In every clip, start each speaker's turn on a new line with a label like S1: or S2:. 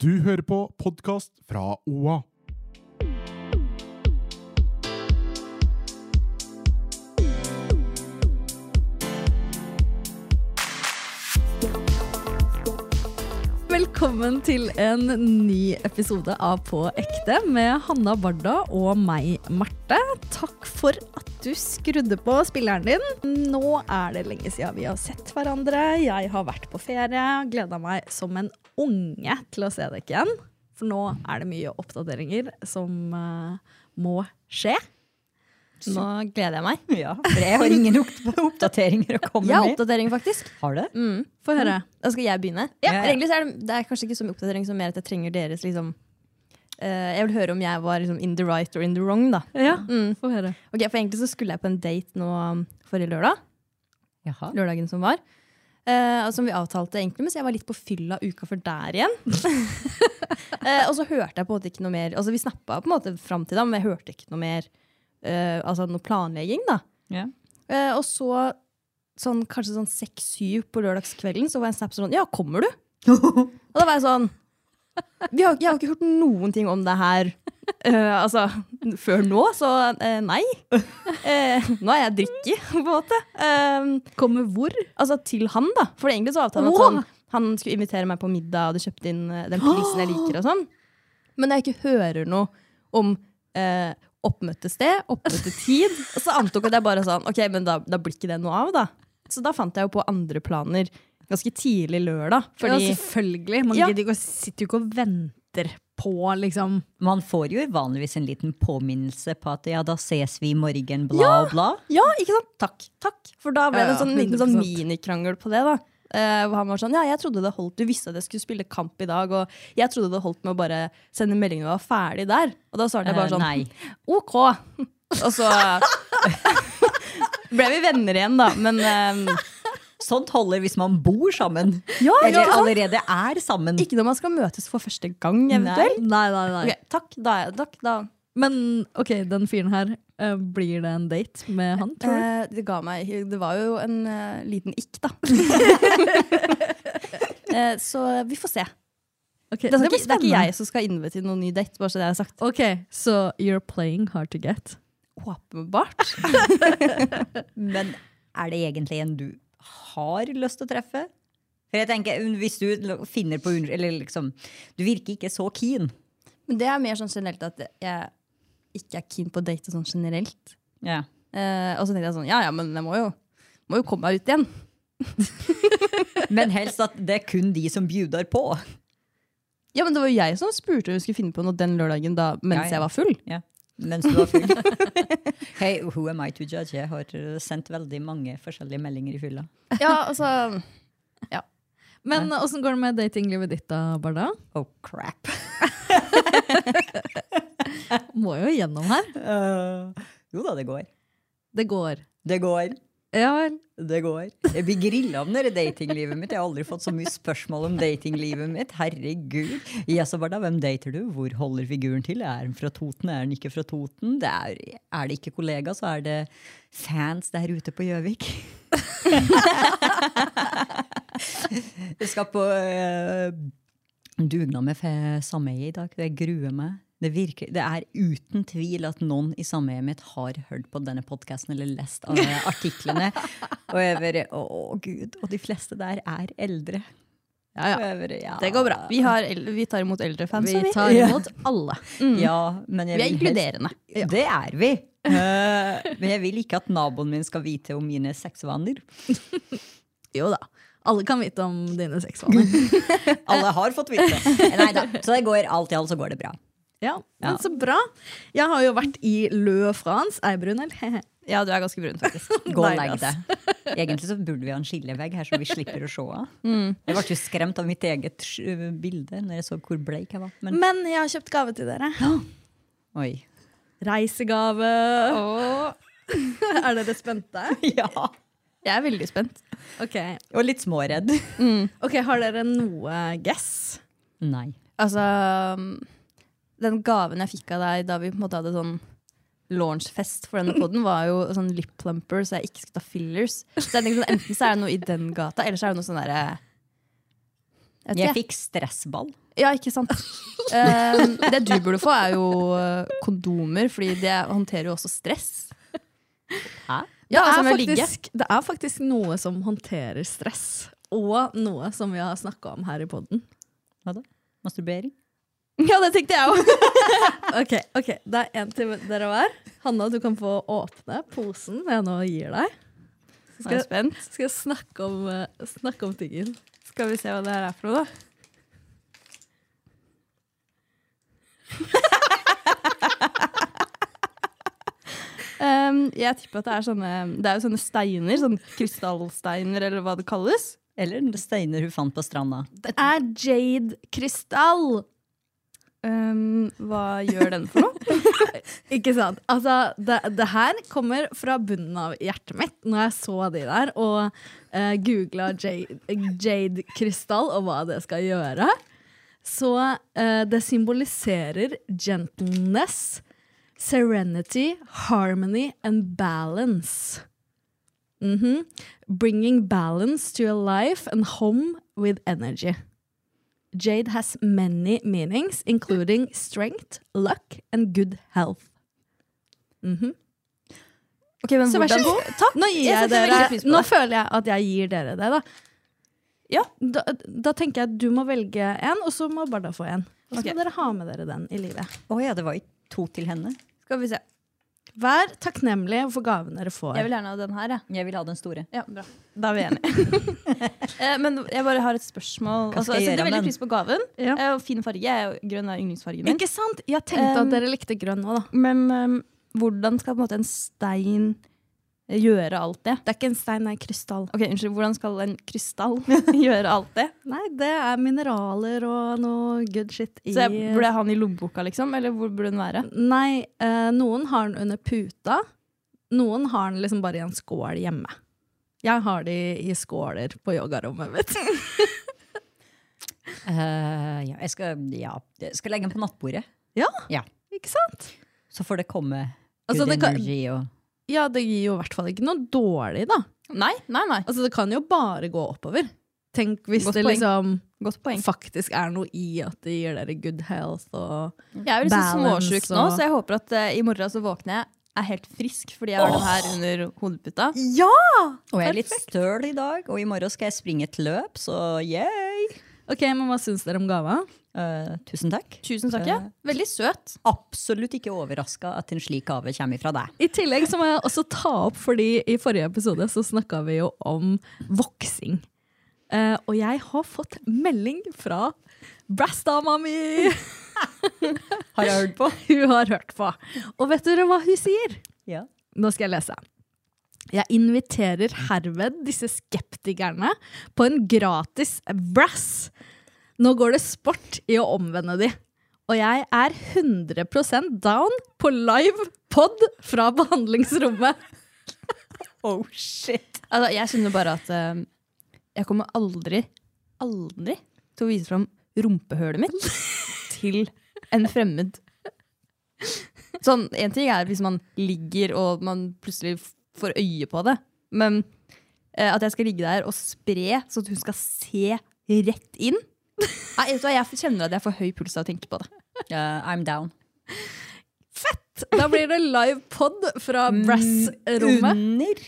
S1: Du hører på podkast fra OA.
S2: Velkommen til en ny episode av På ekte med Hanna Barda og meg, Marte. Takk for at du skrudde på spilleren din. Nå er det lenge siden vi har sett hverandre. Jeg har vært på ferie og gleda meg som en unge til å se deg igjen. For nå er det mye oppdateringer som eh, må skje.
S3: Nå gleder jeg meg.
S4: Ja, for jeg har ingen opp- oppdateringer å komme
S3: Jeg har
S4: med.
S3: oppdatering, faktisk.
S4: Har du?
S3: Mm.
S2: Få høre.
S3: Da skal jeg begynne.
S4: ja.
S3: Egentlig så er det, det er kanskje ikke så mye oppdatering som mer at jeg trenger deres liksom eh, Jeg vil høre om jeg var liksom, in the right or in the wrong, da.
S2: Ja,
S3: Mm.
S2: få høre.
S3: Ok, For egentlig så skulle jeg på en date nå um, forrige lørdag.
S4: Jaha.
S3: Lørdagen som var. Eh, og som vi avtalte egentlig, mens jeg var litt på fylla uka før der igjen. Eh, og så hørte jeg på en måte ikke noe mer Altså Vi snappa på en måte fram til da, men jeg hørte ikke noe mer eh, Altså noe planlegging. da
S4: Ja.
S3: Eh, og så sånn, kanskje sånn 6-7 på lørdagskvelden så var jeg en snap sånn Ja, kommer du? og da var jeg sånn vi har, Jeg har ikke hørt noen ting om det her eh, altså, før nå, så eh, nei. Eh, nå er jeg drikki, på en måte. Eh,
S2: Kommer hvor?
S3: altså til han, da. For egentlig så avtalte han at
S2: Åh!
S3: sånn, han skulle invitere meg på middag, og hadde kjøpt inn eh, den prisen jeg liker og sånn. Men når jeg ikke hører noe om eh, oppmøtested, oppmøtetid, så antok jeg at jeg bare sånn, ok, men da, da blir ikke det noe av, da. Så da fant jeg jo på andre planer ganske tidlig lørdag. Fordi
S2: ja, selvfølgelig. Man
S3: Ja.
S2: gidder ikke å sitter jo ikke og venter på, liksom.
S4: Man får jo vanligvis en liten påminnelse på at ja, da ses vi i morgen, bla og bla.
S3: Ja, ikke sant? Takk. takk. For da ble
S2: Ja,
S3: det en sånn,
S2: ja,
S3: liten sånn
S2: 100%.
S3: minikrangel på det. da. Eh, hvor han var sånn, ja, jeg trodde det holdt, Du visste at jeg skulle spille kamp i dag, og jeg trodde det holdt med å bare sende melding når jeg var ferdig der. Og da svarte jeg bare
S4: Eh,
S3: sånn
S4: nei.
S3: OK. Og så ble vi venner igjen, da. Men eh,
S4: Sånt holder hvis man bor sammen.
S3: ja, ikke
S4: Eller
S3: sant?
S4: allerede er sammen.
S3: ikke når man skal møtes for første gang, eventuelt.
S2: Nei, nei, nei.
S3: Ok, takk, da, er- takk, da.
S2: Men ok, den fyren her, eh, blir det en date med han, tror du?
S3: Eh, det ga meg Det var jo en eh, liten ikk, da. Eh, så vi får se.
S2: Ok,
S3: Det er,
S2: blir
S3: ikke, det er ikke
S2: spennende.
S3: jeg som skal innvite til noen ny date, bare så det er sagt.
S2: Ok, så you're playing hard to get.
S3: Åpenbart.
S4: Men er det egentlig en du har lyst til å treffe? For jeg tenker, Hvis du l- finner på unnskyld- Eller liksom, du virker ikke så keen.
S3: Men det er mer sånn generelt at jeg ikke er keen på å date sånn generelt.
S4: Ja.
S3: Eh, og så tenkte jeg sånn, ja ja, men jeg må jo, må jo komme meg ut igjen.
S4: Men helst at det er kun de som bjuder på.
S3: Ja, men det var jo jeg som spurte om vi skulle finne på noe den lørdagen da, mens
S4: Ja, ja.
S3: jeg var full.
S4: Mens du var full. Hey, who am I to judge? Jeg har eh, sendt veldig mange forskjellige meldinger i fylla.
S3: Ja, altså...
S2: Men åssen går det med datinglivet ditt, da, Barda?
S4: Oh, crap.
S2: Må jo gjennom her.
S4: Eh, jo da, det går.
S2: Det går.
S4: Det går.
S2: Ja vel.
S4: Det går. Jeg blir grilla om det datinglivet mitt. Jeg har aldri fått så mye spørsmål om datinglivet mitt. Herregud. Ja, så Barda, hvem dater du? Hvor holder figuren til? Er han fra Toten? Er han ikke fra Toten? Det er, er det ikke kollega, så er det fans der ute på Gjøvik. Jeg skal på eh, dugnad med fe- sameiet i dag. Jeg gruer meg. Det, virker, det er uten tvil at noen i sameiet mitt har hørt på denne podkasten eller lest av artiklene. Og jeg bare, å gud, og de fleste der er eldre.
S2: Ja,
S4: Og
S2: ja.
S4: jeg bare, ja.
S3: Det går bra. Vi, har, el- vi tar imot eldre fans.
S2: Vi
S3: så
S2: tar
S4: Ja.
S2: imot alle.
S4: Ja, men
S3: Vi er
S4: jeg vil helst-
S3: inkluderende.
S4: Det er vi. Eh, Men jeg vil ikke at naboen min skal vite om mine sexvaner.
S2: Jo da. Alle kan vite om dine sexvaner.
S4: Alle har fått vite det. Neida. Så det går alt i alt så går det bra.
S2: Ja, men Så bra. Jeg har jo vært i Le France. Er jeg brun, eller?
S3: Ja, du er ganske brun, faktisk.
S4: Gå og
S2: Deilig,
S4: legg
S2: ass.
S4: deg. Egentlig så burde vi ha en skillevegg her, så vi slipper å se av. Jeg ble jo skremt av mitt eget eh, bilde når jeg så hvor bleik jeg var. Men
S2: Men jeg har kjøpt gave til dere.
S4: oi.
S2: Reisegave. er dere spente?
S4: Ja.
S3: Jeg er veldig spent.
S2: Ok,
S4: Og litt småredd.
S2: Ok, Har dere noe guess?
S4: Nei.
S3: Altså, den gaven jeg fikk av deg da vi på en måte hadde sånn launchfest for denne podden, var jo sånn lip plumper, så jeg ikke skulle ta fillers. Så jeg tenkte sånn, Enten så er det noe i den gata, eller så er det noe sånn derre Jeg vet
S4: Jeg
S3: ikke, jeg.
S4: fikk stressball.
S3: Ja, ikke sant. Um, det du burde få, er jo eh, kondomer, fordi det håndterer jo også stress.
S4: Hæ?
S3: Ja, altså,
S2: det,
S3: som
S2: er
S3: å ligge.
S2: faktisk, det er faktisk noe som håndterer stress. Og noe som vi har snakka om her i poden.
S4: Hva da? Masturbering?
S3: Ja, det tenkte jeg òg.
S2: Ok, ok, det er en til dere hver. Hanna, du kan få åpne posen jeg nå gir deg. Så
S3: Jeg
S2: skal,
S3: er spent.
S2: skal jeg snakke om, eh, snakke om tingen.
S3: Skal vi se hva det her er for noe, da. um, jeg tipper at det er sånne Det er jo sånne steiner, sånn krystallsteiner, eller hva det kalles.
S4: Eller steiner hun fant på stranda?
S3: Det er jade-krystall! Um, hva gjør den for noe?
S2: Ikke sant? Altså, det, det her kommer fra bunnen av hjertet mitt når jeg så de der og eh, googla jade, jade krystall og hva det skal gjøre. Så eh, det symboliserer gentleness, serenity, harmony and balance. Mhm. Bringing balance to your life and home with energy. Jade has many meanings, including strength, luck and good health.
S3: Ok, men
S2: Så vær så
S3: hvordan-
S2: god. Takk. Nå, gir jeg
S3: Jeg setter veldig
S2: dere,
S3: pris på
S2: nå
S3: det.
S2: føler jeg at jeg gir dere det, da. Ja, da, da tenker jeg at du må velge en, og så må Barda få en. Og så
S3: Ok.
S2: må dere ha med dere den i livet.
S4: Å ja, det var ikke to til henne.
S3: Skal vi se.
S2: Vær takknemlig for gaven dere får.
S3: Jeg vil gjerne ha den her, jeg.
S4: Jeg vil ha den store.
S3: Ja, bra. Da er vi enige. eh, men jeg bare har et spørsmål.
S4: Hva
S3: Altså,
S4: skal
S3: jeg
S4: jeg
S3: setter
S4: gjøre med
S3: veldig
S4: den?
S3: pris på gaven.
S2: Ja.
S3: Eh, og fin farge. Jeg er jo- Grønn er yndlingsfargen min.
S2: Ikke sant? Jeg tenkte
S3: Um,
S2: at dere likte grønn nå, da.
S3: Men ehm, hvordan skal på en måte en stein gjøre alt det?
S2: Det er ikke en stein, det er en krystall.
S3: Ok, unnskyld, Hvordan skal en krystall gjøre alt det?
S2: Nei, det er mineraler og noe good shit i
S3: Så jeg, Burde jeg ha den i lommeboka, liksom? Eller hvor burde den være?
S2: Nei, eh, noen har den under puta. Noen har den liksom bare i en skål hjemme. Jeg har de i skåler på yogarommet mitt.
S4: Eh, ja, jeg skal, ja, jeg skal legge den på nattbordet.
S2: Ja,
S4: Ja.
S2: ikke sant?
S4: Så får det komme good
S2: Altså, det kan-
S4: energy og
S2: Ja, det gir jo i hvert fall ikke noe dårlig, da.
S3: Nei, nei, nei.
S2: Altså, det kan jo bare gå oppover. Tenk hvis
S3: Godt
S2: det
S3: poeng.
S2: liksom
S3: Godt poeng.
S2: faktisk er noe i at det gir dere good health og
S3: Jeg er jo liksom
S2: Balance
S3: småsjuk nå,
S2: og-
S3: så jeg håper at eh, i morgen så våkner jeg er helt frisk fordi jeg har den her under hodeputa.
S2: Ja!
S4: Og jeg er litt støl i dag, og i morgen skal jeg springe et løp, så yay!
S2: Ok, men hva syns dere om gava?
S4: Eh, tusen takk.
S3: Tusen takk. Ja. Veldig søt.
S4: Absolutt ikke overraska at en slik gave kommer fra deg.
S2: I tillegg så må jeg også ta opp, fordi i forrige episode så snakka vi jo om voksing. Eh, og jeg har fått melding fra brassdama mi!
S4: Har jeg hørt på?
S2: Hun har hørt på. Og vet dere hva hun sier?
S4: Ja.
S2: Nå skal jeg lese. Jeg inviterer herved disse skeptikerne på en gratis brass. Nå går det sport i å omvende de. Og jeg er 100 down på live pod fra behandlingsrommet.
S4: Oh shit!
S3: Altså, jeg skjønner bare at eh, jeg kommer aldri, aldri til å vise fram rumpehølet mitt til en fremmed. Sånn, En ting er hvis man ligger og man plutselig f- får øye på det, men eh, at jeg skal ligge der og spre sånn at hun skal se rett inn Nei, vet du hva, Jeg kjenner at jeg får høy puls av å tenke på det.
S4: Eh, I'm down.
S2: Da blir det live pod fra
S3: Mm.
S4: Mm.
S2: brass-rommet.
S4: Under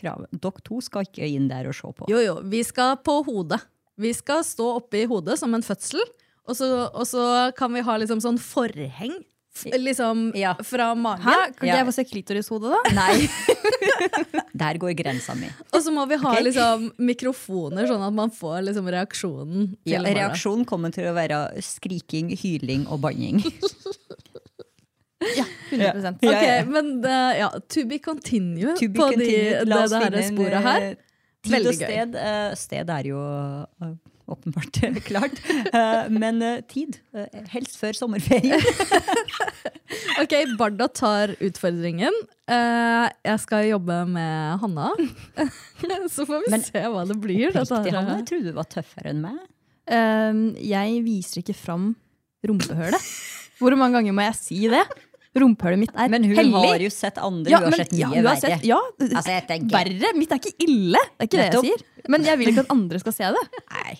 S4: kravet. Dere to skal ikke inn der og se på.
S2: Jo, jo. Vi skal på hodet. Vi skal stå oppe i hodet som en fødsel, og så, og så kan vi ha liksom sånn forheng f liksom
S4: Ja.
S2: fra magen.
S3: Hæ? Kan ikke
S4: Ja.
S3: jeg få se klitorishodet, da?
S4: Nei. Der går grensa mi.
S2: Og så må vi ha
S4: Ok.
S2: liksom, mikrofoner, sånn at man får liksom, reaksjonen. til
S4: Ja,
S2: Mara.
S4: reaksjonen kommer til å være skriking, hyling og banning.
S3: 100
S2: Ok, men eh, ja, to be continue
S4: To be
S2: på de,
S4: continued.
S2: det,
S4: La oss
S2: det her
S4: finne en,
S2: sporet her.
S4: eh, Tid
S2: Veldig
S4: og
S2: gøy.
S4: sted. Eh, Sted er jo eh, åpenbart klart. Eh, Men eh, tid. eh, Helst før sommerferie.
S2: Ok, Barda tar utfordringen. Eh, jeg skal jobbe med Hanna. Så får vi
S4: Men-
S2: se hva det blir. dette
S4: Riktig,
S2: her.
S4: Hanne. Jeg trodde du var tøffere enn meg.
S3: Ehm, jeg viser ikke fram rumpehølet. Hvor mange ganger må jeg si det? Rumpehølet mitt er
S4: Men hun
S3: hellig.
S4: har jo sett andre.
S3: ja,
S4: hun
S3: men-
S4: har sett mye
S3: ja, hun har
S4: verre.
S3: sett- ja,
S4: Altså, jeg tenker-
S3: verre. Mitt er ikke ille, det er ikke det jeg
S4: Nettopp.
S3: sier. Men jeg vil ikke at andre skal se det.
S4: Nei,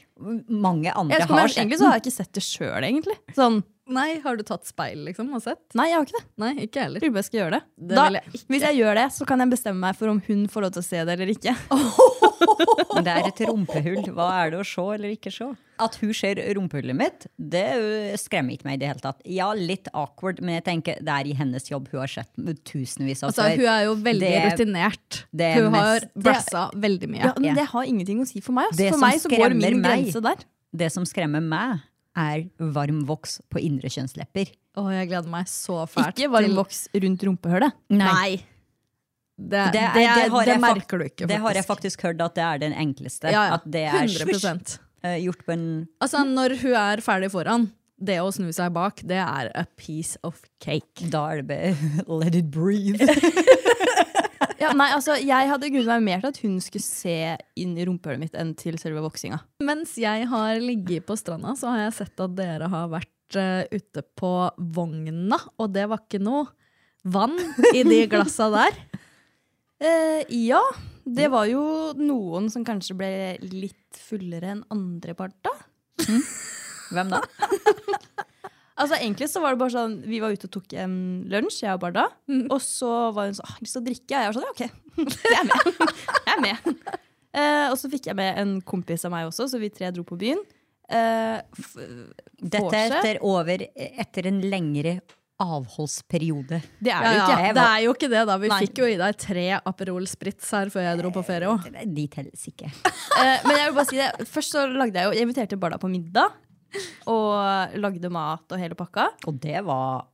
S4: mange andre
S3: Jeg skal være
S4: har
S3: ærlig, egentlig
S4: sett
S3: så har jeg ikke sett det sjøl, egentlig. Sånn,
S2: Nei, har du tatt speil liksom, og sett?
S3: nei, jeg har ikke det.
S2: Nei, ikke jeg heller.
S3: Jeg tror bare jeg skal gjøre det.
S2: Det
S3: da,
S2: vil jeg ikke.
S3: Hvis jeg gjør det, så kan jeg bestemme meg for om hun får lov til å se det eller ikke.
S4: Men det er et rumpehull. Hva er det å se eller ikke se? At hun ser rumpehullet mitt, det ø, skremmer ikke meg i det hele tatt. Ja, litt awkward, men jeg tenker det er i hennes jobb. Hun har sett tusenvis av
S2: Altså, hun er jo veldig
S4: Det-
S2: rutinert.
S4: det er
S2: Hun har
S4: mest-
S2: brassa veldig mye.
S3: Ja, men Det har ingenting å si for meg. ass.
S4: altså. Det
S3: for
S4: som
S3: meg så går
S4: skremmer
S3: min
S4: meg-
S3: grense der.
S4: Det som skremmer meg, er varm voks på indre kjønnslepper.
S2: Å, jeg gleder meg så fælt.
S3: Ikke varm
S2: til-
S3: voks rundt rumpehølet.
S2: Nei. Det,
S4: Det,
S2: det,
S4: er-
S2: er-
S4: det har
S2: det
S4: jeg fak-
S2: merker du ikke,
S4: Det har jeg faktisk hørt at det er den enkleste.
S2: Ja, ja.
S4: At det er svusj,
S2: 100
S4: ø, gjort på en
S2: Altså, når hun er ferdig foran, det å snu seg bak, det er a piece of cake.
S4: Da er det bare let it breathe.
S3: Ja, nei, altså, jeg hadde grudd meg mer til at hun skulle se inn i rumpehullet mitt enn til selve voksinga.
S2: Mens jeg har ligget på stranda, så har jeg sett at dere har vært eh, ute på vogna, og det var ikke noe vann i de glassa der.
S3: Eh, ja, det var jo noen som kanskje ble litt fullere enn andre part da.
S4: Hvem da?
S3: Altså Egentlig så var det bare sånn vi var ute og tok en lunsj, jeg og Barda. Og så var hun sånn «Ah, 'Jeg har lyst til å drikke'. Og jeg var sånn ja, 'OK, jeg er med'. Jeg er med. Eh, og så fikk jeg med en kompis av meg også, så vi tre dro på byen. Eh, f
S4: Dette
S3: Vorse?
S4: er etter, over, etter en lengre avholdsperiode.
S3: det
S2: Ja,
S3: er det jo
S2: ja,
S3: ikke.
S4: Jeg
S2: det
S4: var-
S2: er jo ikke det, da. Vi
S4: Nei.
S2: fikk jo i deg tre Aperol Spritz her før jeg dro på ferie òg.
S4: De telles ikke.
S3: Eh, men jeg vil bare si det. Først så lagde jeg jo Jeg inviterte Barda på middag. Og lagde mat og hele pakka.
S4: Og det var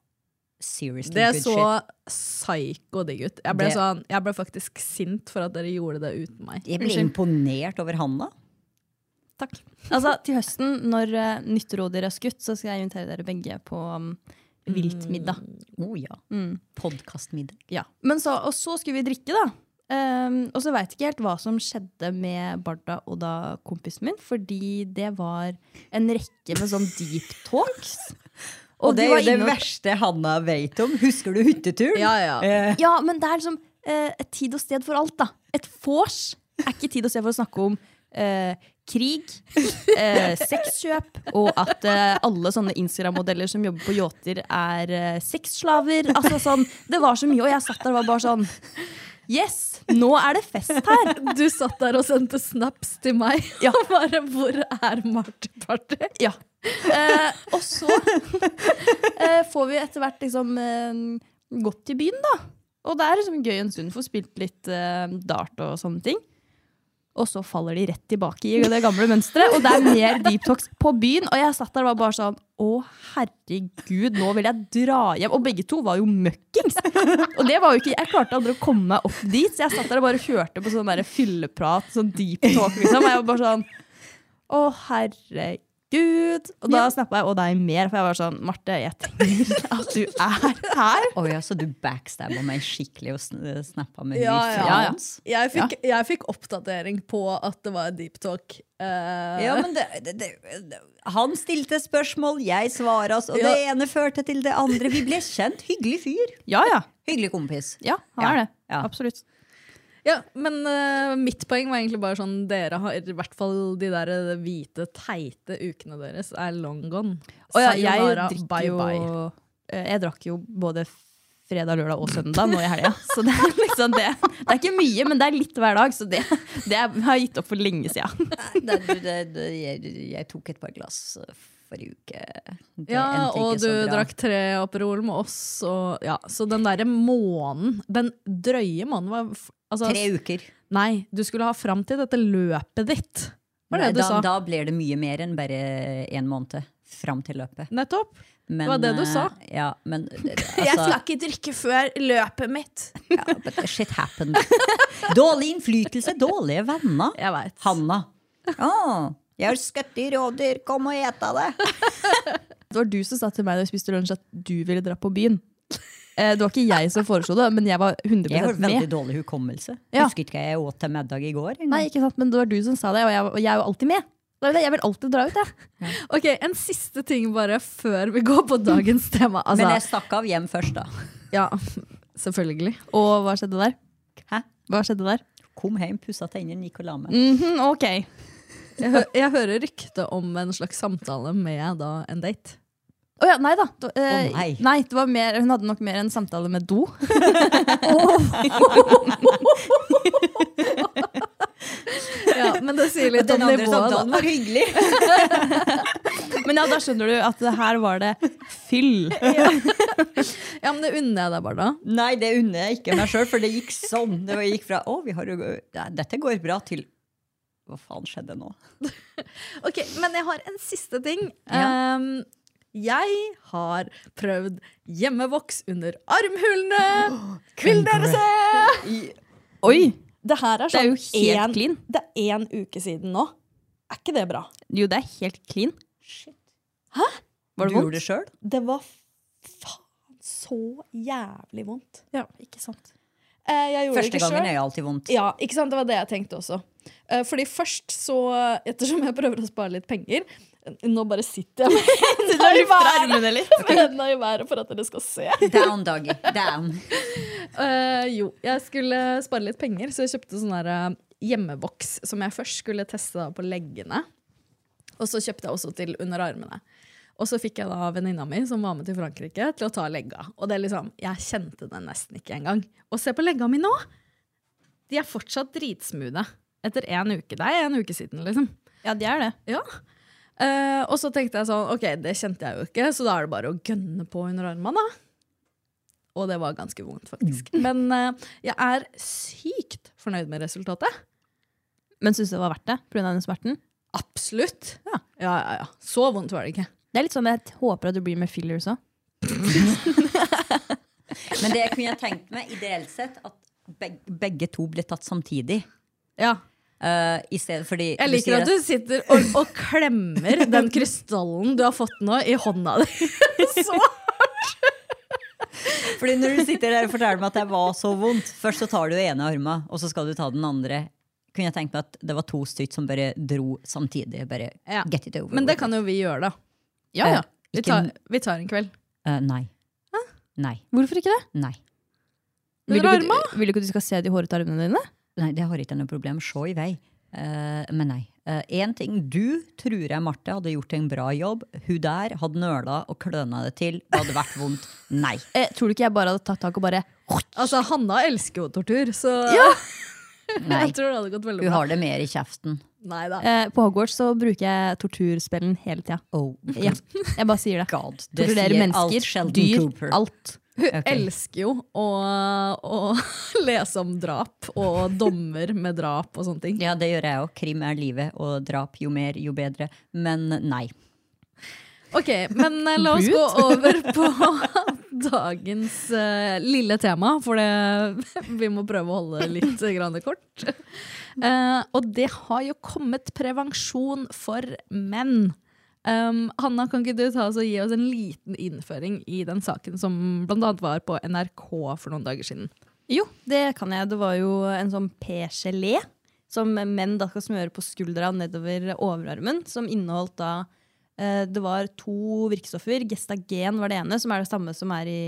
S4: seriously
S2: Det
S4: good
S2: så
S4: shit.
S2: psyko digg ut. Jeg ble,
S4: Det-
S2: sånn, jeg ble faktisk sint for at dere gjorde det uten meg.
S4: Jeg ble imponert over Hanna.
S3: Takk. Altså, til høsten, når uh, nyttrådyr er skutt, så skal jeg invitere dere begge på um, viltmiddag.
S4: Å ja. Podkastmiddag.
S2: Mm.
S3: Ja. Men så, og så skulle vi drikke, da. Um, og så veit ikke helt hva som skjedde med Barda og da kompisen min, fordi det var en rekke med sånn deep talks.
S4: Og, det
S3: de
S4: er
S3: var
S4: jo det
S3: inne og-
S4: verste Hanna vet om. Husker du hytteturen?
S2: Ja, ja.
S4: Eh,
S3: Ja, men det er liksom eh, et tid og sted for alt, da. Et vors er ikke tid og sted for å snakke om eh, krig, eh, sexkjøp, og at eh, alle sånne Instagram-modeller som jobber på yachter, er eh, sexslaver. Altså sånn, Det var så mye, og jeg satt der og var bare sånn Yes, nå er det fest her!
S2: Du satt der og sendte snaps til meg og bare 'Hvor er Marty-party?'
S3: Ja. Eh, og så eh, får vi etter hvert liksom eh, gått til byen, da. Og det er liksom gøy en stund, får spilt litt eh, dart og sånne ting. Og så faller de rett tilbake i det gamle mønsteret, og det er mer deep talks på byen. Og jeg satt der og var bare sånn Å, herregud, nå vil jeg dra hjem. Og begge to var jo møkkings. Og det var jo ikke Jeg klarte aldri å komme meg opp dit, så jeg satt der og bare hørte på sånn der fylleprat, sånn deep talk, liksom. Og jeg var bare sånn å, herregud. Og da snappa jeg og deg mer, for jeg var sånn Marte, jeg trenger at du er her.
S4: Å ja, så du backstabba meg skikkelig og sn- snappa med
S2: Ja,
S4: ny
S2: ja.
S3: Ja, ja.
S4: frans?
S2: Jeg fikk, jeg fikk oppdatering på at det var deep talk. Eh,
S4: Ja, men det, det, det, han stilte spørsmål, jeg svarer oss, og
S2: Ja.
S4: det ene førte til det andre. Vi ble kjent. Hyggelig fyr.
S3: Ja, ja.
S4: Hyggelig kompis.
S3: Ja, han er det.
S4: Ja.
S3: Absolutt.
S2: ja, men eh, mitt poeng var egentlig bare sånn Dere har i hvert fall de der eh, hvite, teite ukene deres er long gone.
S3: Og ja, jeg
S2: Sayonara,
S3: drikker
S2: bye
S3: jo
S2: bye.
S3: eh, Jeg drakk jo både fredag, lørdag og søndag nå i helga. Så det er liksom det. Det er ikke mye, men det er litt hver dag, så det, det har jeg gitt opp for lenge sia.
S4: Det, det, det, det, jeg, jeg tok et par glass eh, forrige uke. Det
S2: Ja,
S4: endte ikke
S2: og du
S4: så bra.
S2: drakk tre Aperol med oss, og ja. Så den derre månen, den drøye månen, var f- altså,
S4: Tre uker.
S2: Nei, du skulle ha fram til dette løpet ditt, var det du
S4: Nei, da,
S2: sa.
S4: da blir det mye mer enn bare én måned. fram til løpet.
S2: Nettopp.
S4: Men,
S2: Det var det du
S4: eh,
S2: sa.
S4: Ja, men
S3: Jeg
S4: altså,
S3: skal ikke drikke før løpet mitt.
S4: ja, but Shit happened. Dårlig innflytelse, dårlige venner.
S2: Jeg veit.
S4: Hanna. Å, jeg har skutt i rådyr, kom og eta det.
S3: Det var du som sa til meg da vi spiste lunsj at du ville dra på byen. Eh, Det var ikke jeg som foreslo det, men jeg var
S4: Jeg har
S3: 100
S4: veldig
S3: med.
S4: dårlig hukommelse.
S3: Ja.
S4: Husker ikke hva jeg åt til middag i går. engang.
S3: Nei, ikke sant, men det var du som sa det, og jeg, og jeg er jo alltid med. Da vil jeg, jeg vil alltid dra ut, jeg.
S2: Ok, En siste ting bare før vi går på dagens tema. Altså,
S4: Men jeg stakk av hjem først, da.
S2: ja, selvfølgelig.
S3: Og hva skjedde der?
S4: Hæ?
S3: Hva skjedde der?
S4: Kom hjem, pussa tennene, gikk og la meg.
S3: Mhm, ok.
S2: Jeg, hø jeg hører rykte om en slags samtale med da, en date.
S3: Å ja, nei da. Det, eh,
S4: Å, nei.
S3: nei, det var mer, hun hadde nok mer en samtale med do.
S2: Ja, Men det sier litt om
S4: Den andre
S2: nivået. da.
S4: samtalen var hyggelig.
S3: Men ja, da skjønner du at det her var det fyll.
S2: Ja, men Det unner jeg deg, Barda.
S4: Nei, det unner jeg ikke meg sjøl, for det gikk sånn. Det gikk fra 'å, vi har jo ja, dette går bra', til 'hva faen skjedde nå'?
S2: Ok, Men jeg har en siste ting.
S4: Ja.
S2: Um, jeg har prøvd hjemmevoks under armhulene! Vil dere se?
S3: Oi!
S2: Det her er
S3: Det er
S2: sånn
S3: jo helt
S2: en-
S3: clean.
S2: Det er én uke siden nå. Er ikke det bra?
S3: Jo, det er helt clean.
S4: Var det du gjorde det sjøl?
S2: Det var faen så jævlig vondt.
S3: Ja, ikke sant.
S2: Eh, jeg gjorde
S4: Første
S2: det ikke
S4: gangen
S2: sjøl.
S4: er jo alltid vondt.
S2: Ja, ikke sant? Det var det jeg tenkte også. Eh, Fordi først så, ettersom jeg prøver å spare litt penger Nå bare sitter jeg med henda i været- med henda i været for at dere skal se.
S4: Down, Doggy. Down.
S2: Eh, jo, jeg skulle spare litt penger, så jeg kjøpte sånn der eh, hjemmevoks som jeg først skulle teste da på leggene. Og så kjøpte jeg også til under armene. Og så fikk jeg da venninna mi som var med til Frankrike, til å ta legga. Og det er liksom, jeg kjente den nesten ikke engang. Og se på legga mi nå! De er fortsatt dritsmoothie etter én uke. Det er en uke siden, liksom.
S3: Ja, det er det.
S2: Ja. Eh, og så tenkte jeg sånn, ok, det kjente jeg jo ikke, så da er det bare å gønne på under armene, da. Og det var ganske vondt, faktisk.
S4: Mm.
S2: Men eh, jeg er sykt fornøyd med resultatet.
S3: Men syns du det var verdt det pga. den smerten?
S2: Absolutt.
S3: Ja.
S2: ja, ja, ja. Så vondt var det ikke.
S3: Det er litt sånn jeg håper at du blir med fillers òg.
S4: Men det jeg kunne jeg tenkt meg, ideelt sett, at beg begge to ble tatt samtidig.
S2: Ja.
S4: Eh, I stedet fordi
S2: Jeg liker
S4: sier
S2: at du sitter og, og klemmer den krystallen du har fått nå, i hånda di. Så
S4: Fordi når du sitter der og forteller meg at det var så vondt Først så tar du ene armen, og så skal du ta den andre. Kunne jeg tenkt meg at det var to stykker som bare dro samtidig. Bare
S2: Ja.
S4: get it over
S2: Men det
S4: with.
S2: kan jo vi gjøre, da.
S4: Ja, ja.
S2: Vi tar, vi tar en kveld.
S4: Eh, nei. Nei.
S3: Hvorfor ikke det?
S4: Nei.
S3: Vil du,
S2: Under
S3: ikke, vil du ikke at du skal se de hårete armene dine?
S4: Nei, det har ikke noe problem. Se i vei. Eh, men nei. Én ting du tror jeg, Marte, hadde gjort en bra jobb. Hun der hadde nøla og kløna det til. Det hadde vært vondt. Nei.
S3: Eh, tror du ikke jeg bare hadde tatt tak og bare
S2: Altså, Hanna elsker jo tortur, så
S4: nei.
S2: jeg tror det hadde gått veldig
S4: Hun
S2: bra.
S4: har det mer i kjeften.
S2: Nei da.
S3: eh, På Hogwarts så bruker jeg torturspellen hele tida.
S4: Oh,
S3: Ja, jeg bare sier det.
S4: God. Det
S3: Torturerer
S4: sier alt
S3: mennesker,
S4: Sheldon
S3: dyr,
S4: Cooper.
S3: alt.
S2: Hun
S4: Ok.
S2: elsker jo å, å lese om drap og dommer med drap og sånne ting.
S4: Ja, det gjør jeg òg. Krim er livet, og drap jo mer, jo bedre. Men nei.
S2: Ok, men eh, la oss gå over på dagens eh, lille tema, for det, vi må prøve å holde det litt grann kort. Eh, og det har jo kommet prevensjon for menn. Um, Hanna, kan ikke du ta oss og gi oss en liten innføring i den saken som bl.a. var på NRK for noen dager siden?
S3: Jo, det kan jeg. Det var jo en sånn P-gelé som menn da skal smøre på skuldra og nedover overarmen, som inneholdt da eh, det var to virkestoffer. Gestagen var det ene, som er det samme som er i,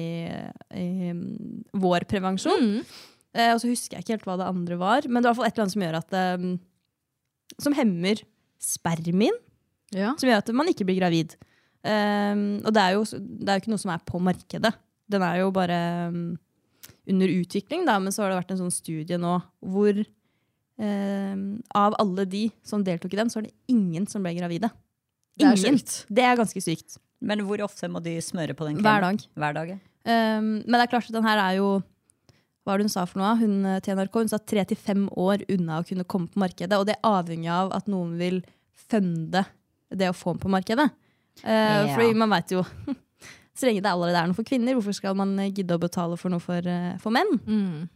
S3: i mm, vår prevensjon.
S2: Mm.
S3: Eh, og så husker jeg ikke helt hva det andre var, men det var i hvert fall et eller annet som gjør at eh, Som hemmer spermin,
S2: Ja.
S3: som gjør at man ikke blir gravid. Eh, og det er, jo, det er jo ikke noe som er på markedet. Den er jo bare mm, under utvikling, da, men så har det vært en sånn studie nå hvor eh, av alle de som deltok i den, så er det ingen som ble gravide.
S2: Det er
S3: Ingen.
S2: sjukt.
S3: Det er ganske sykt.
S4: Men hvor ofte må de smøre på den
S3: Hver dag.
S4: Hver dag, ja.
S3: Um, men det er klart at den her er jo Hva var det hun sa for noe? Hun eh, til NRK hun sa tre til fem år unna å kunne komme på markedet. Og det avhenger av at noen vil funde det å få den på markedet. Eh,
S4: Ja.
S3: Fordi man vet jo Så lenge det allerede er noe for kvinner, hvorfor skal man eh, gidde å betale for noe for, eh, for menn?
S2: Mm.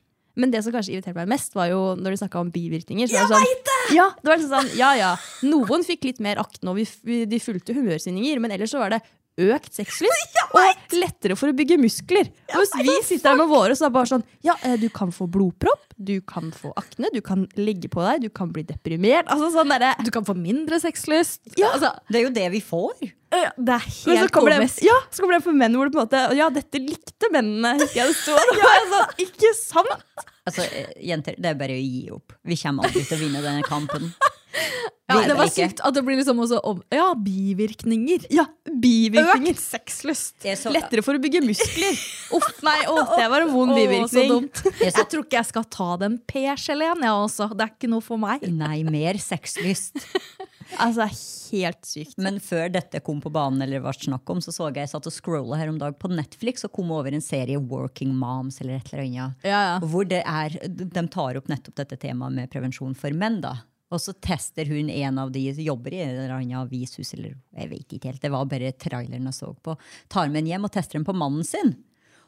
S3: Men det som kanskje irriterte meg mest, var jo når du snakka om bivirkninger. Så jeg sånn, det! Ja, det var liksom sånn, ja, ja, Noen fikk litt mer akten, og vi, f- vi, de fulgte humørsvingninger, men ellers så var det økt sexlyst og lettere for å bygge muskler. Og hvis vi sitter her med våre, så er det bare sånn Ja, eh, du kan få blodpropp, du kan få akne, du kan legge på deg, du kan bli deprimert. Altså sånn derre
S2: Du kan få mindre sexlyst.
S4: Altså, det er jo det vi får.
S3: ja, det er
S2: helt
S3: så kommer det,
S2: komisk.
S3: ja, så kommer det for menn hvor det på en måte Ja, dette likte mennene, husker jeg det sto. Og da var jeg sånn, ikke sant?
S4: Altså, eh, jenter, det er bare å gi opp. Vi kommer aldri til å vinne denne kampen.
S2: Ja,
S4: Vinner
S2: det var
S4: ikke.
S2: sykt at det blir liksom også om, Ja, bivirkninger.
S3: Ja, bivirkninger.
S2: Økt sexlyst.
S4: Jeg er så,
S3: Lettere for å bygge muskler. Uff, nei, å, det var en vond
S2: Å, så
S3: bivirkning.
S2: dumt. Jeg tror ikke jeg skal ta den P-geleen, jeg også. Det er ikke noe for meg.
S4: Nei, mer sexlyst.
S3: Altså, helt sykt.
S4: Men før dette kom på banen, eller det var snakk om, så så jeg jeg satt og scrolla her om dag på Netflix og kom over en serie Working Moms eller et eller annet.
S2: Ja, ja.
S4: Hvor det er, de tar opp nettopp dette temaet med prevensjon for menn. da. Og så tester hun en av de som jobber i et eller annet avishus, eller jeg vet ikke helt, det var bare traileren jeg så på. Tar med en hjem og tester den på mannen sin.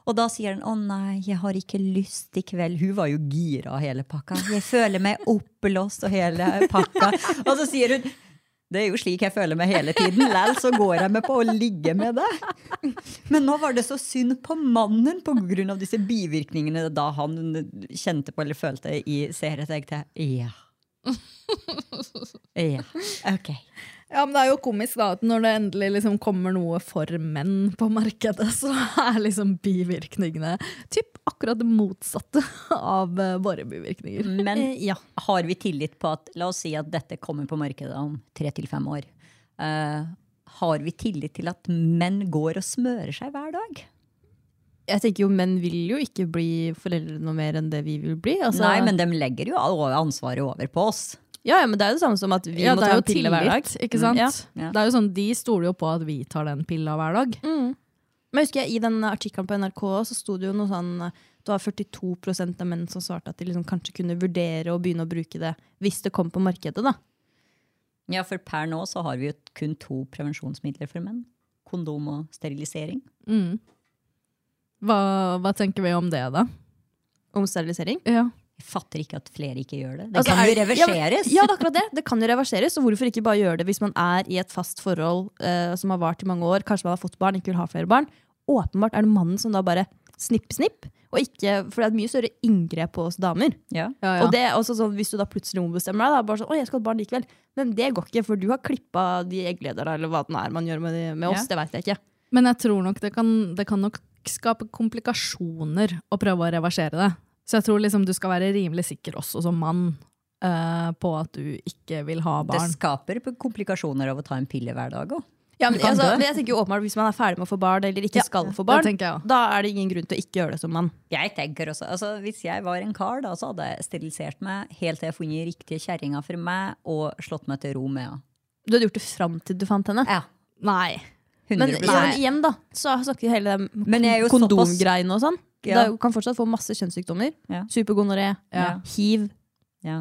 S4: Og da sier han 'Å nei, jeg har ikke lyst i kveld'. Hun var jo gira av hele pakka. 'Jeg føler meg oppblåst og hele pakka'. Og så sier hun 'Det er jo slik jeg føler meg hele tiden'. Læl, så går jeg med på å ligge med deg. Men nå var det så synd på mannen pga. disse bivirkningene da han kjente på eller følte i serien. Så jeg tenkte ja. Ja, ok.
S2: Ja, men Det er jo komisk da, at når det endelig liksom kommer noe for menn på markedet, så er liksom bivirkningene typ akkurat det motsatte av eh, våre bivirkninger.
S4: Men
S2: Eh, ja.
S4: har vi tillit på at La oss si at dette kommer på markedet om tre til fem år. Eh, har vi tillit til at menn går og smører seg hver dag?
S3: Jeg tenker jo, menn vil jo ikke bli foreldre noe mer enn det vi vil bli. Altså,
S4: Nei, men de legger jo all- ansvaret over på oss.
S3: Ja, ja, men det er jo det samme som at vi
S2: ja,
S3: må
S2: det
S3: ta
S2: er
S3: en
S2: jo
S3: pille hver dag. Mm,
S2: tillit, ikke sant?
S4: Ja.
S2: Det er jo sånn, De stoler jo på at vi tar den pilla hver dag.
S3: Men jeg husker jeg, I den artikkelen på NRK så sto det jo noe sånn det var 42 av menn som svarte at de liksom kanskje kunne vurdere å begynne å bruke det hvis det kom på markedet. da.
S4: Ja, for per nå så har vi jo kun to prevensjonsmidler for menn. Kondom og sterilisering.
S2: Mm. Hva, hva tenker vi om det, da?
S3: Om sterilisering.
S2: Ja.
S4: Jeg fatter ikke at flere ikke gjør det. Det
S3: Altså,
S4: kan jo
S3: er-
S4: reverseres.
S3: Ja, men- ja, det er akkurat det. Det kan jo reverseres, og hvorfor ikke bare gjøre det hvis man er i et fast forhold eh, som har vart i mange år, kanskje man har fått barn, ikke vil ha flere barn. Åpenbart er det mannen som da bare snipp, snipp, og ikke, for det er et mye større inngrep på oss damer.
S4: Ja.
S2: Ja, ja.
S3: Og det er også sånn, Hvis du da plutselig ombestemmer deg, da, bare sånn, å, jeg skal ha barn likevel. Men det går ikke, for du har klippa de egglederne, eller hva den er man gjør med, de, med oss. Det veit jeg ikke.
S2: Men jeg tror nok det kan, det kan nok skape komplikasjoner å prøve å reversere det. Så jeg tror liksom du skal være rimelig sikker også som mann eh, på at du ikke vil ha
S4: Det
S2: barn.
S4: skaper komplikasjoner av å ta en pille hver dag òg.
S3: Ja, men,
S2: Du kan
S3: altså,
S2: dø.
S3: men jeg tenker jo åpenbart Hvis man er ferdig med å få barn, eller ikke
S2: Ja,
S3: skal få
S2: det
S3: barn,
S2: tenker jeg også.
S3: da er det ingen grunn til å ikke gjøre det som mann.
S4: Jeg tenker også, altså Hvis jeg var en kar, da, så hadde jeg sterilisert meg helt til jeg funnet riktige kjerringa for meg og slått meg til ro med henne.
S3: Du hadde gjort det fram til du fant henne.
S4: Ja,
S2: Nei.
S4: 100%.
S3: Men igjen, igjen da, så snakker vi hele den
S4: Men jeg er jo såpass-
S3: kondomgreiene og sånn.
S4: Ja.
S3: Da kan fortsatt få masse kjønnssykdommer.
S4: Ja.
S3: Supergonoré,
S4: Ja.
S3: hiv.
S4: ja.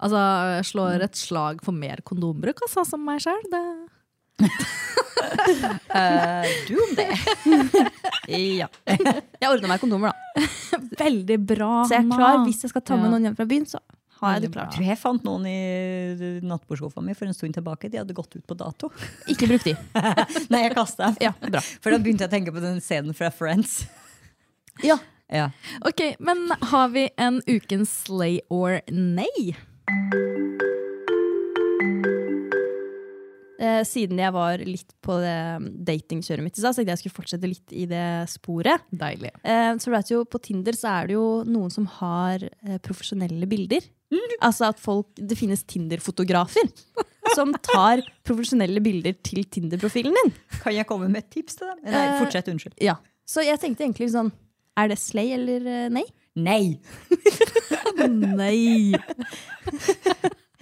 S2: Altså, jeg slår et slag for mer kondombruk, altså, som meg sjøl. Det...
S3: Eh,
S4: du om det?
S3: Ja. jeg ordna meg kondomer, da.
S2: Veldig bra,
S3: Så jeg er klar hvis jeg skal ta med
S2: Ja.
S3: noen hjem fra byen. så har jeg det
S2: Veldig
S3: klart.
S4: Tror jeg fant noen i nattbordsofaen min for en stund tilbake. De hadde gått ut på dato.
S3: Ikke bruk de.
S4: Nei, jeg kasta dem.
S3: Ja, bra.
S4: For da begynte jeg å tenke på den scenen fra Friends.
S3: Ja.
S4: Ja.
S2: Ok, Men har vi en ukens slay or nay?
S3: eh, siden jeg var litt på det datingkjøret mitt i stad, så tenkte jeg skulle fortsette litt i det sporet.
S2: Deilig.
S3: Eh, så du vet jo, På Tinder så er det jo noen som har eh, profesjonelle bilder. Altså at folk, Det finnes Tinder-fotografer som tar profesjonelle bilder til Tinder-profilen din.
S4: Kan jeg komme med et tips til dem? Nei,
S3: Eh,
S4: fortsett. Unnskyld.
S3: Ja. Så jeg tenkte egentlig sånn Er det slay eller eh, nei?
S4: Nei!
S3: Nei.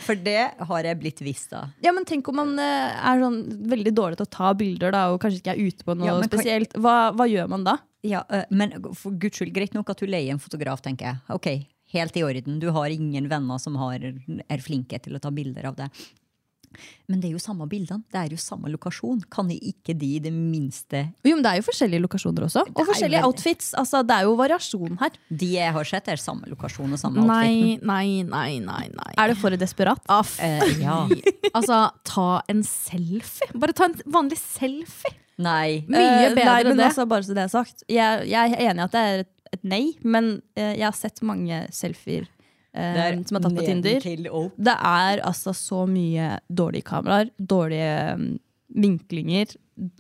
S4: For det har jeg blitt visst av.
S3: Ja, men Tenk om man eh, er sånn veldig dårlig til å ta bilder da, og kanskje ikke er ute på noe
S4: Ja, men kan-
S3: spesielt. Hva, hva gjør man da?
S4: Ja, eh, men for guds skyld, greit nok at du leier en fotograf, tenker jeg. Ok, helt i orden. Du har ingen venner som har, er flinke til å ta bilder av det. Men det er jo samme bildene, det er jo samme lokasjon. Kan ikke de i det minste
S3: Jo, men Det er jo forskjellige lokasjoner også. Og forskjellige
S4: veldig-
S3: outfits. altså Det er jo variasjon her.
S4: De jeg har sett, er samme lokasjon og samme
S2: Nei,
S4: outfit.
S2: nei, nei, nei. nei.
S3: Er det for desperat?
S2: Aff.
S4: Eh, ja.
S2: Altså, ta en selfie. Bare ta en vanlig selfie.
S4: Nei.
S2: Mye
S3: Eh,
S2: bedre
S3: nei, men
S2: enn det.
S3: Altså, bare så det er sagt. Jeg, jeg er enig i at det er et, et nei, men eh, jeg har sett mange selfier eh,
S4: Det er
S3: som er tatt på Tinder.
S4: nedentil og opp.
S3: Det er altså så mye dårlige kameraer, dårlige mm, vinklinger,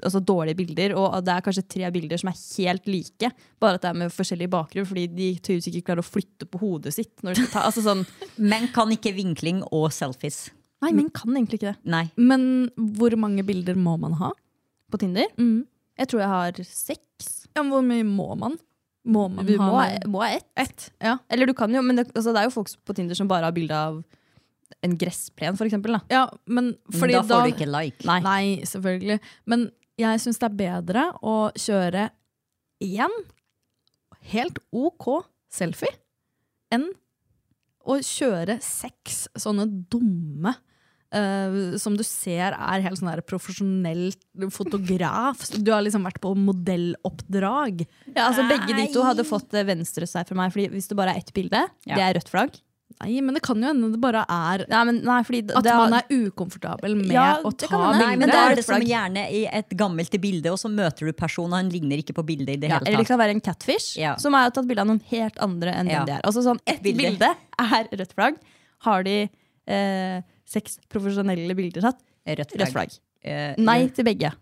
S3: altså dårlige bilder. Og det er kanskje tre bilder som er helt like, bare at det er med forskjellig bakgrunn. Fordi de tydeligvis ikke klarer å flytte på hodet sitt. Når de skal ta, altså sånn,
S4: Men kan ikke vinkling og selfies.
S3: nei, men kan egentlig ikke det.
S4: Nei.
S2: Men hvor mange bilder må man ha?
S3: På Tinder?
S2: Mm.
S3: Jeg tror jeg har seks.
S2: Ja, men hvor mye må man? Må man
S3: Du
S2: ha
S3: må, ha-
S2: noe?
S3: må ha ett.
S2: ett? Ja.
S3: Eller du kan jo, men det, altså, det er jo folk på Tinder som bare har bilde av en gressplen, for eksempel. Da.
S2: ja, men
S4: Men
S2: fordi
S4: da får du ikke like.
S2: Nei. selvfølgelig. Men jeg syns det er bedre å kjøre én helt OK selfie enn å kjøre seks sånne dumme eh, som du ser er helt sånn der profesjonell fotograf. Du har liksom vært på modelloppdrag.
S3: Ja, altså Begge de to hadde fått eh, venstre seg fra meg. Fordi Hvis det bare er ett bilde,
S4: Ja.
S3: det er rødt flagg.
S2: Nei, men det kan jo hende det bare er
S3: Nei, men, nei, fordi det,
S2: at
S3: det har-
S2: man er ukomfortabel med
S3: Ja,
S2: å
S3: det
S2: ta
S3: kan hende.
S2: bilder.
S4: Nei, men
S3: Det
S4: da
S3: er
S4: er
S3: et
S4: det som
S3: flagg.
S4: gjerne i et gammelt bilde, og så møter du personen, han ligner ikke på bildet i det
S3: ja,
S4: hele
S3: Eller det
S4: tatt.
S3: kan være en catfish,
S4: Ja.
S3: som har tatt bilde av noen helt andre enn
S4: Ja.
S3: den de er. Altså sånn, Ett
S4: Bilde.
S3: bilde. er rødt flagg. Har de eh, seks profesjonelle bilder tatt?
S4: Rødt
S3: Rødt flagg.
S4: Eh,
S3: Nei til begge.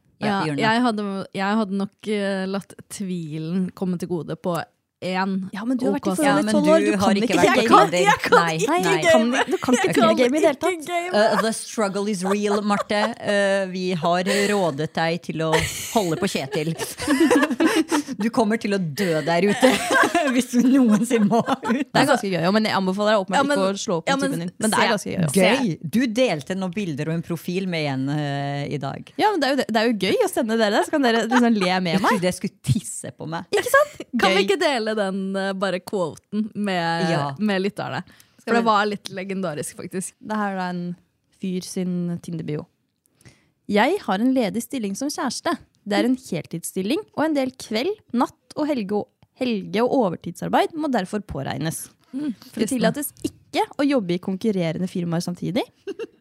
S2: Ja,
S4: Ja, gjør det.
S2: jeg, hadde, jeg hadde nok eh, latt tvilen komme til gode på én.
S3: Ja, men du har vært i
S2: OK.
S3: forhold
S4: Ja,
S3: i
S4: men
S3: tolv
S4: du
S3: år, du
S4: har
S3: kan
S4: ikke
S3: ikke game.
S4: vært i
S3: Jeg kan-
S4: Tinder.
S3: jeg kan
S4: Nei,
S3: ikke
S4: nei.
S3: game. Du kan ikke
S4: kan
S3: game i det hele tatt.
S4: Uh, the struggle is real, Marte. Uh, vi har rådet deg til å holde på Kjetil. Du kommer til å dø der ute hvis du noensinne må ut.
S3: Det er ganske gøy, jo, men jeg anbefaler deg åpenbart
S2: Ja, men-
S3: ikke å slå opp med
S2: ja, men
S3: typen din. Men det er
S2: se-
S3: ganske gøy. jo.
S4: Gøy! Altså, Du delte noen bilder og en profil med en eh, i dag.
S3: Ja, men det er, jo, det er jo gøy å sende dere det, så kan dere liksom le med
S4: Jeg
S3: meg.
S4: trodde jeg skulle tisse på meg.
S2: Kan vi
S4: Gøy.
S2: ikke dele den eh, bare quoten med,
S4: Ja.
S2: med lytterne? For
S3: vi-
S2: det var litt legendarisk, faktisk.
S3: Det her er da en fyr sin Tinder-bio. Jeg har en ledig stilling som kjæreste. Det er en heltidsstilling, og en del kveld, natt og helge, helge- og overtidsarbeid må derfor påregnes.
S2: Mm,
S3: Det tillates ikke å jobbe i konkurrerende firmaer samtidig.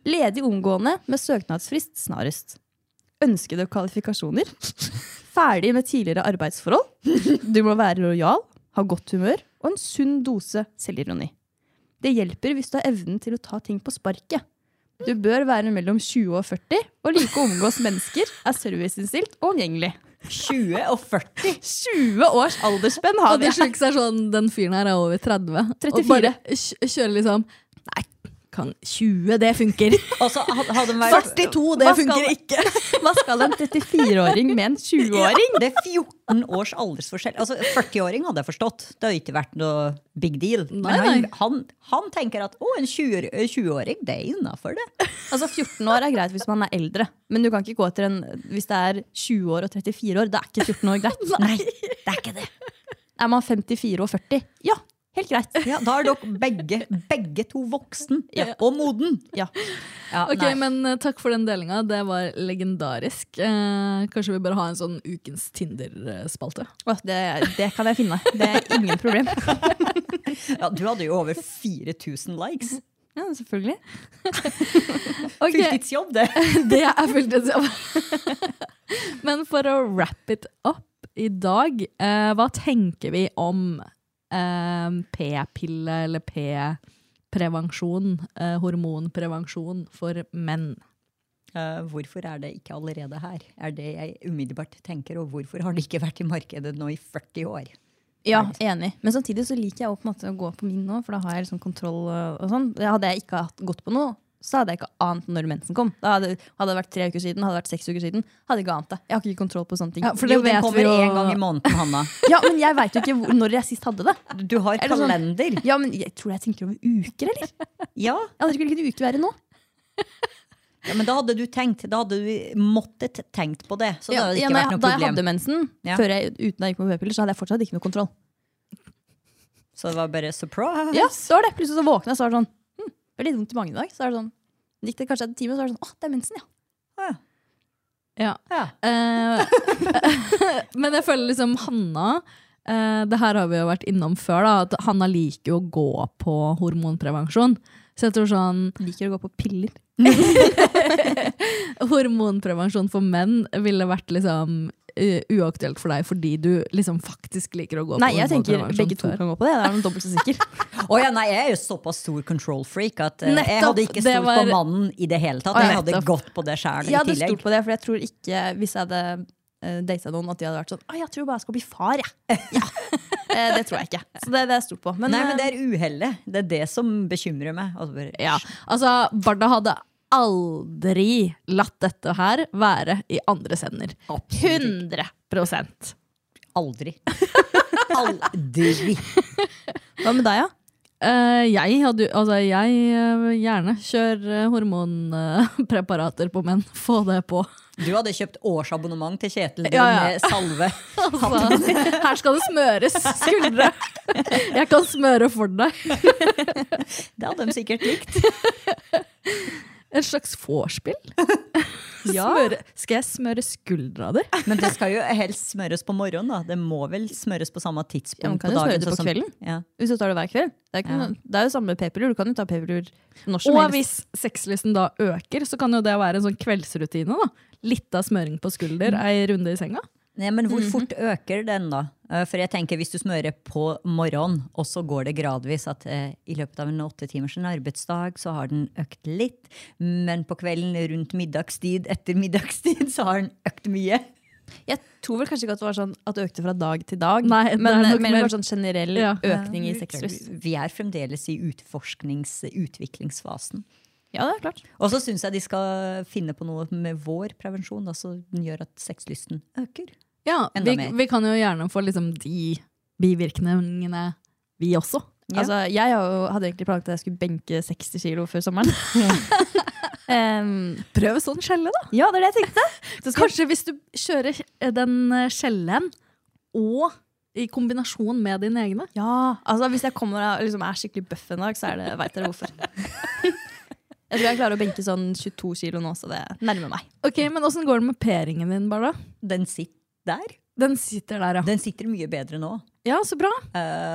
S3: Ledig omgående med søknadsfrist snarest. Ønskede kvalifikasjoner. Ferdig med tidligere arbeidsforhold. Du må være lojal, ha godt humør og en sunn dose selvironi. Det hjelper hvis du har evnen til å ta ting på sparket. Du bør være mellom 20 og 40 og like å omgås mennesker, er serviceinnstilt og omgjengelig.
S4: 20 og 40.
S3: 20 års aldersspenn har
S2: Og
S3: vi!
S2: det sjukeste er sånn, den fyren her er over 30.
S3: 34.
S2: Og bare kj- kjører liksom Nei, kan 20, det funker.
S4: Og så had- Altså, hadde den vært
S2: 42,
S3: Hva
S2: det
S3: skal-
S2: funker ikke.
S3: Hva skal en 34-åring med en 20-åring?
S4: Det er 14 års aldersforskjell. Altså, 40-åring hadde jeg forstått. Det hadde ikke vært noe big deal.
S2: Nei,
S4: Men han,
S2: nei.
S4: han, han tenker at å, en 20 20-åring, det er innafor, det.
S3: Altså 14 år er greit hvis man er eldre, men du kan ikke gå etter en hvis det er 20 år og 34 år. Da er ikke 14 år greit. Nei, det Er ikke det Er man 54 og 40? Ja, helt greit.
S4: Ja, da er dere begge, begge to voksen og moden.
S3: Ja.
S4: Ja,
S2: Ok,
S4: nei.
S2: men eh, Takk for den delinga. Det var legendarisk. Eh, kanskje vi bør ha en sånn ukens Tinder-spalte.
S3: Å, Det, det kan jeg finne. Det er ingen problem.
S4: ja, du hadde jo over 4000 likes.
S3: Ja, selvfølgelig.
S4: Fulltidsjobb, det.
S2: Det er fulltidsjobb. Men for å wrap it up i dag, eh, hva tenker vi om eh, p-pille eller p-prevensjon, eh, hormonprevensjon for menn?
S4: Eh, hvorfor er det ikke allerede her? Er det jeg umiddelbart tenker, og hvorfor har det ikke vært i markedet nå i 40 år?
S3: Ja, enig. Men samtidig så liker jeg å på en måte å gå på min nå, for da har jeg liksom kontroll. øh, og sånn. Det Hadde jeg ikke hatt gått på noe, så hadde jeg ikke ant når mensen kom. Da hadde, hadde det vært tre uker siden, hadde det vært seks uker siden. Hadde jeg ikke ant det. Jeg har ikke kontroll på sånne ting.
S2: Ja, for det
S4: Jo, den
S2: vet vi
S4: kommer
S2: jo-
S4: én gang i måneden, Hanna.
S3: Ja, men jeg veit jo ikke hvor, når jeg sist hadde det.
S4: Du har
S3: Er det sånn-
S4: kalender.
S3: Ja, men jeg tror jeg tenker over uker, eller?
S4: Ja,
S3: Jeg aner ikke hvilken uke vi er i nå.
S4: Ja, men da hadde du tenkt, da hadde du måttet tenkt på det. Så da hadde det
S3: Ja,
S4: ikke
S3: når
S4: vært
S3: jeg,
S4: noe
S3: da jeg
S4: problem.
S3: hadde mensen,
S4: Ja.
S3: før jeg, uten jeg gikk på p-piller, så hadde jeg fortsatt ikke noe kontroll.
S4: Så det var bare surprise.
S3: Ja, så var det. Plutselig så våkna jeg, så var det sånn hm, det er litt vondt i magen i dag. Så er det sånn Gikk det kanskje en time, så var det sånn Å, det er mensen, ja.
S2: Ja.
S4: Ja.
S2: Eh, men jeg føler liksom Hanna eh, Det her har vi jo vært innom før, da, at Hanna liker jo å gå på hormonprevensjon. Så jeg tror sånn
S3: Liker å gå på piller.
S2: Hormonprevensjon for menn ville vært liksom eh, uaktuelt for deg fordi du liksom faktisk liker å gå
S3: Nei,
S2: på
S3: jeg tenker
S2: hormonprevensjon
S3: begge to
S2: før.
S3: kan gå på det. Det er noen dobbelt så sikker.
S4: Å ja, nei, jeg er jo såpass stor control freak at eh, jeg
S2: Nettopp,
S4: hadde ikke
S2: det
S4: stolt
S2: var-
S4: på mannen i det hele tatt.
S2: Å, ja,
S4: Jeg hadde
S2: nettopp.
S4: gått på det sjæl
S3: Jeg
S4: i
S3: hadde
S4: tillegg.
S3: stolt på det, for jeg tror ikke, hvis jeg hadde uh, data noen, at de hadde vært sånn Å, jeg tror bare jeg skal bli far, jeg. Ja. Eh, det tror jeg ikke. Så det, det er jeg stolt på. Men,
S4: Nei, men det
S3: eh,
S4: er uhellet. Det er det som bekymrer meg. Altså bare,
S2: Ja, altså Barda hadde aldri latt dette her være i andres hender. 100
S4: Aldri. Aldri.
S3: hva med deg, da?
S2: Eh, jeg hadde jo- altså jeg eh, gjerne kjør eh, hormonpreparater på menn. Få det på.
S4: Du hadde kjøpt årsabonnement til Kjetil du,
S2: Ja, ja.
S4: med salve.
S2: Altså, her skal det smøres skuldre. Jeg kan smøre for deg.
S4: Det hadde de sikkert likt.
S2: Et slags vorspiel. Smøre, skal jeg smøre skuldra di?
S4: Men det skal jo helst smøres på morgenen, da. Det må vel smøres på samme tidspunkt
S3: Ja, man kan
S4: på
S3: jo
S4: dagen.
S3: smøre det på
S4: sånn som-
S3: kvelden.
S4: Ja.
S3: Hvis du tar det hver kveld. Det er, ikke
S4: Ja.
S3: noe, det er jo samme p-piller. Du kan jo ta p-piller når som
S2: Og
S3: helst.
S2: hvis sexlysten da øker, så kan jo det være en sånn kveldsrutine. da. Litt av smøring på skulder,
S3: Mm.
S2: ei runde i senga.
S4: Nei, men hvor
S3: Mhm.
S4: fort øker den, da? Eh, For jeg tenker hvis du smører på morgenen, og så går det gradvis at eh, i løpet av en åtte timers en arbeidsdag så har den økt litt, men på kvelden rundt middagstid etter middagstid så har den økt mye.
S3: Jeg tror vel kanskje ikke at det var sånn at det økte fra dag til dag,
S2: Nei, det er
S3: men
S2: nok
S3: mer
S2: mer-
S3: bare sånn generell
S2: Ja.
S3: økning i sexlyst.
S4: Vi er fremdeles i utforsknings- utviklingsfasen.
S3: Ja, det er klart.
S4: Og så syns jeg de skal finne på noe med vår prevensjon da, som gjør at sexlysten øker.
S2: Ja,
S4: Enda
S2: vi,
S4: mer.
S2: vi kan jo gjerne få liksom de bivirkningene, vi også.
S4: Ja.
S3: Altså, jeg har jo, hadde egentlig planlagt at jeg skulle benke 60 kilo før sommeren. Em,
S2: Prøv sånn skjelle, da.
S3: ja, det er det jeg tenkte.
S2: Kanskje hvis du kjører den eh, skjellen og i kombinasjon med dine egne.
S3: Ja, altså Hvis jeg kommer og liksom er skikkelig bøff en dag, så er det, veit dere hvorfor. Jeg tror jeg klarer å benke sånn 22 kilo nå, så det nærmer meg.
S2: Ok, Men åssen går det med p-ringen din, Barda?
S4: Den sitter der.
S2: Den sitter der, ja.
S4: Den sitter mye bedre nå.
S2: Ja, Så bra.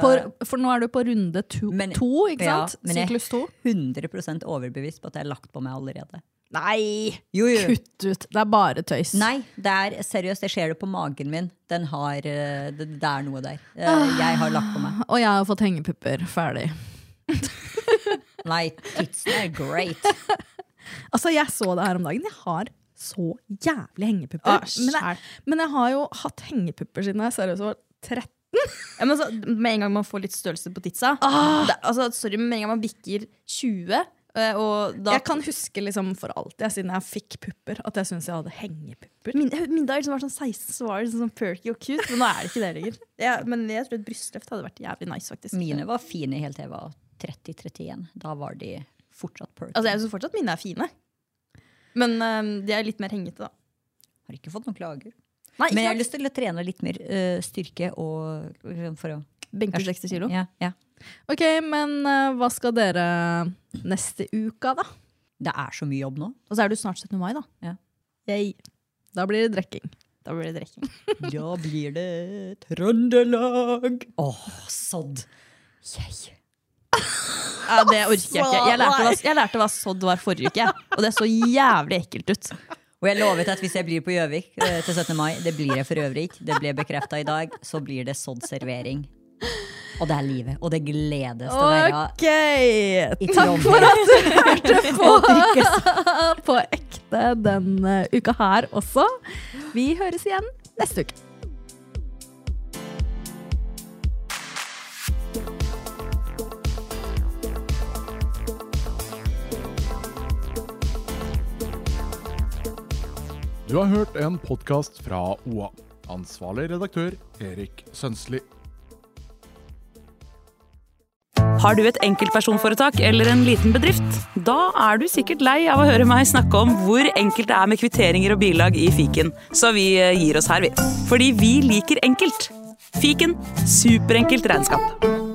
S2: For, for nå er du på runde to,
S4: Men-
S2: to ikke
S4: Ja,
S2: sant?
S4: men jeg-
S2: Syklus to.
S4: 100 overbevist på at jeg har lagt på meg allerede.
S2: Nei!
S4: Jo, jo.
S2: Kutt ut. Det er bare tøys.
S4: Nei, det er seriøst. Jeg ser det på magen min. Den har, eh, det, det er noe der.
S3: Ah.
S4: Eh, Jeg har lagt på meg.
S2: Og jeg har fått hengepupper. Ferdig.
S4: Nei, titsene er great.
S2: Altså, jeg så det her om dagen. Jeg har så jævlig hengepupper.
S3: Ah,
S2: men, jeg, men jeg har jo hatt hengepupper siden jeg seriøst var 13.
S3: Ja, men så, med en gang man får litt størrelse på titsa det, altså, Sorry, men med en gang man bikker 20 eh, og da,
S2: Jeg kan huske liksom for alltid, jeg, siden jeg fikk pupper, at jeg syntes jeg hadde hengepupper.
S3: Min, min dag liksom var sånn 16, så var det sånn perky og cute, men nå er det ikke det lenger. Ja, men jeg tror et brystløft hadde vært jævlig nice, faktisk.
S4: Mine var fine helt til jeg var 30-31. Da var de fortsatt perky.
S3: Altså, jeg syns fortsatt mine er fine. Men eh, de er litt mer hengete, da.
S4: Har ikke fått noen klager.
S3: Nei,
S4: Men jeg har lyst til å trene litt mer eh, styrke og liksom for å
S3: benker 60 kilo.
S4: Ja, ja.
S2: Ok, men eh, hva skal dere neste uka, da?
S4: Det er så mye jobb nå.
S3: Og så er du snart 17. mai, da.
S4: Ja.
S3: Yay.
S2: Da blir det drikking.
S3: Da blir det drikking.
S4: Da blir det Trøndelag! Åh, sådd! Jeg.
S3: Ja, det orker jeg ikke. Jeg lærte, hva, jeg lærte hva sodd var forrige uke, og det så jævlig ekkelt ut.
S4: Og jeg lovet at hvis jeg blir på Gjøvik eh, til 17. mai, det blir jeg for øvrig ikke, det ble bekrefta i dag, så blir det sådd servering. Og det er livet, og det gledes til å være
S2: Ok!
S4: i Trondheim.
S3: altså.
S2: På ekte den eh, uka her også. Vi høres igjen neste uke.
S1: Du har hørt en podkast fra OA. Ansvarlig redaktør Erik Sønsli.
S5: Har du et enkeltpersonforetak eller en liten bedrift? Da er du sikkert lei av å høre meg snakke om hvor enkelt det er med kvitteringer og bilag i fiken, så vi eh, gir oss her, vi. Fordi vi liker enkelt. Fiken superenkelt regnskap.